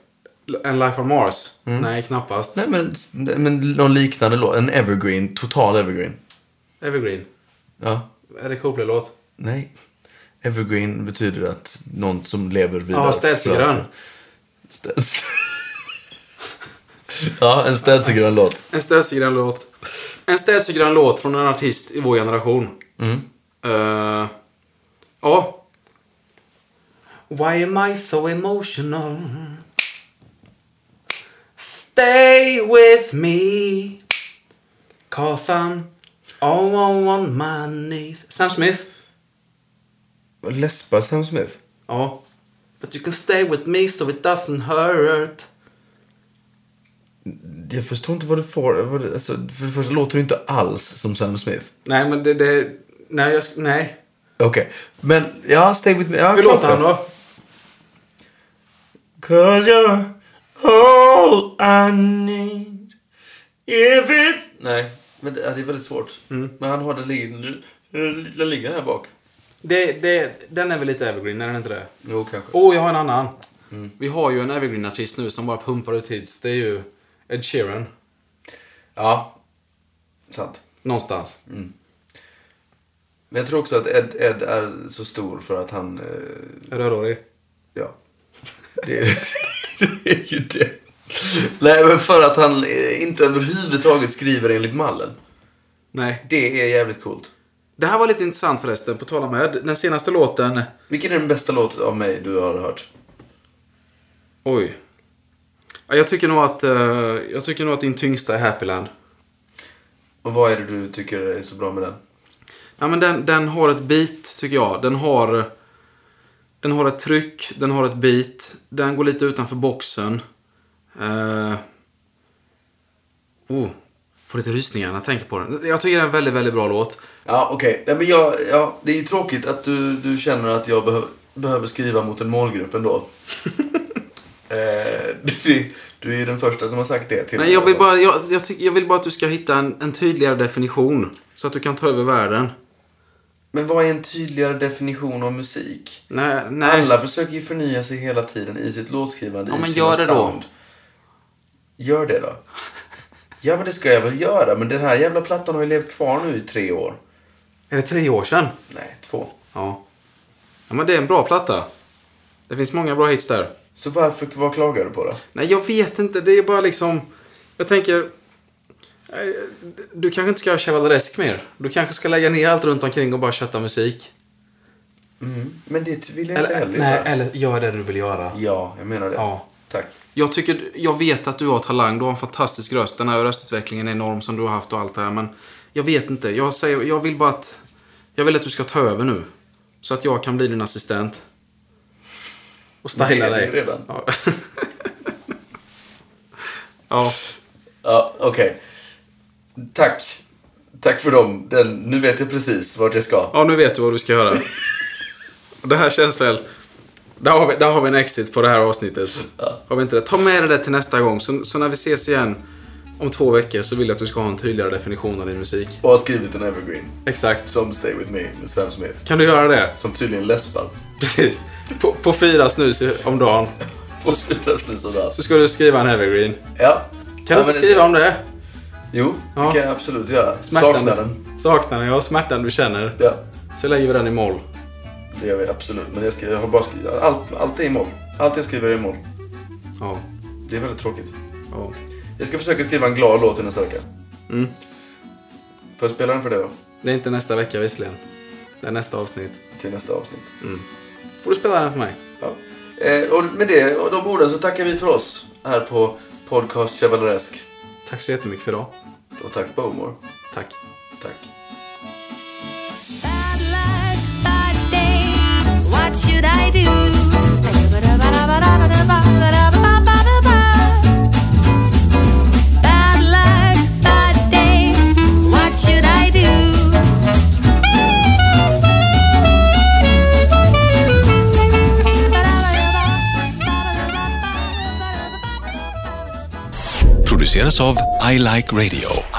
S2: En Life on Mars? Nej, knappast.
S1: Nej, men, men någon liknande låt, en evergreen, total evergreen.
S2: Evergreen.
S1: Ja.
S2: Eric Hople-låt.
S1: Nej. Evergreen betyder att någon som lever vidare.
S2: Ja, städsegrön.
S1: Städs. ja, en städsegrön låt.
S2: En städsegrön låt. En städsegrön låt från en artist i vår generation.
S1: mm.
S2: Eh, ja. Why am I so emotional? Stay with me. Cause I'm all on my knees. Sam Smith.
S1: Läspar Sam Smith?
S2: Ja. But you can stay with me so it doesn't hurt.
S1: Jag förstår inte vad du får. Vad du, alltså, för det första låter du inte alls som Sam Smith.
S2: Nej, men det... det nej, jag... sk- Nej.
S1: Okej. Men, ja, Stay With Me. Ja,
S2: Hur
S1: klart
S2: låter
S1: det.
S2: han då?
S1: Cause you're all I need If it's... Nej, men det, ja, det är väldigt svårt. Men han har den liggande... Den ligger här bak.
S2: Det, det, den är väl lite evergreen, är den inte det?
S1: Jo, kanske.
S2: Åh, jag har en annan. Vi har ju en evergreen-artist nu som bara pumpar ut hits. Det är ju Ed Sheeran.
S1: Ja. Sant.
S2: Någonstans.
S1: Men jag tror också att Ed, Ed är så stor för att han... Eh,
S2: Rödhårig.
S1: Ja. Det är, det är ju det. Nej, men för att han eh, inte överhuvudtaget skriver enligt mallen.
S2: Nej.
S1: Det är jävligt coolt.
S2: Det här var lite intressant förresten, på tal om Ed. Den senaste låten...
S1: Vilken är den bästa låt av mig du har hört?
S2: Oj. Ja, Jag tycker nog att, eh, jag tycker nog att din tyngsta är Happyland.
S1: Och vad är det du tycker är så bra med den?
S2: Ja, men den, den har ett beat, tycker jag. Den har... Den har ett tryck, den har ett beat. Den går lite utanför boxen. Eh, oh, får lite rysningar när jag tänker på den. Jag tycker det är en väldigt, väldigt bra låt.
S1: Ja, okej. Nej, men jag, ja, det är ju tråkigt att du, du känner att jag behöv, behöver skriva mot en målgrupp ändå. eh, du, du är ju den första som har sagt det till
S2: Nej,
S1: mig.
S2: jag vill, bara, jag, jag, tycker, jag vill bara att du ska hitta en, en tydligare definition. Så att du kan ta över världen.
S1: Men vad är en tydligare definition av musik?
S2: Nej, nej.
S1: Alla försöker ju förnya sig hela tiden i sitt låtskrivande,
S2: Ja,
S1: i
S2: men
S1: sina
S2: gör det då.
S1: sound. Gör det då. Ja, men det ska jag väl göra. Men den här jävla plattan har ju levt kvar nu i tre år.
S2: Är det tre år sedan?
S1: Nej, två.
S2: Ja. ja men det är en bra platta. Det finns många bra hits där.
S1: Så varför, vad klagar du på då?
S2: Nej, jag vet inte. Det är bara liksom... Jag tänker... eh, Du kanske inte ska göra Chevaleresk mer. Du kanske ska lägga ner allt runt omkring och bara kötta musik.
S1: Mm. Men det vill jag inte
S2: Eller,
S1: heller
S2: nej,
S1: göra.
S2: eller gör det du vill göra.
S1: Ja, jag menar det.
S2: Ja.
S1: Tack.
S2: Jag, tycker, jag vet att du har talang. Du har en fantastisk röst. Den här röstutvecklingen är enorm som du har haft och allt det här. Men jag vet inte. Jag, säger, jag vill bara att... Jag vill att du ska ta över nu. Så att jag kan bli din assistent. Och
S1: Det
S2: styla
S1: är
S2: dig.
S1: det ju redan.
S2: Ja. ja.
S1: Ja, okej. Tack. Tack för dem. Den, nu vet jag precis vart jag ska.
S2: Ja, nu vet du vad du ska göra. Det här känns väl... Där har, vi, där har vi en exit på det här avsnittet. Har vi inte det? Ta med dig det till nästa gång. Så, så när vi ses igen om två veckor så vill jag att du ska ha en tydligare definition av din musik.
S1: Och har skrivit en evergreen.
S2: Exakt.
S1: Som Stay With Me med Sam Smith.
S2: Kan du göra det?
S1: Som tydligen läspar.
S2: Precis. På, på fyra snus i- om dagen.
S1: Och skriver snus och dans.
S2: Så ska du skriva en evergreen.
S1: Ja.
S2: Kan
S1: ja,
S2: du inte
S1: men det-
S2: skriva om det?
S1: Jo,
S2: Ja.
S1: det kan jag absolut göra.
S2: Smärtan-
S1: Saknar den.
S2: Saknar den, ja. Smärtan du känner.
S1: Ja,
S2: Så lägger vi den i moll.
S1: det gör vi absolut. Men jag, skri- jag har bara skrivit... Allt, allt är i moll. Allt jag skriver är i moll.
S2: Ja.
S1: Det är väldigt tråkigt.
S2: ja.
S1: Jag ska försöka skriva en glad låt till nästa vecka.
S2: Mm.
S1: Får jag spela den för det då?
S2: Det är inte nästa vecka visserligen. Det är nästa avsnitt.
S1: Till nästa avsnitt.
S2: Mm. Får du spela den för mig?
S1: Ja. Eh, och med det och de orden så tackar vi för oss här på Podcast Chevaleresk.
S2: Tack så jättemycket för idag.
S1: Och tack Bowmore.
S2: Tack.
S1: Tack.
S3: Bad luck, bad day. What should I do? Bad luck, bad day. What should I do?
S4: produceras av I Like Radio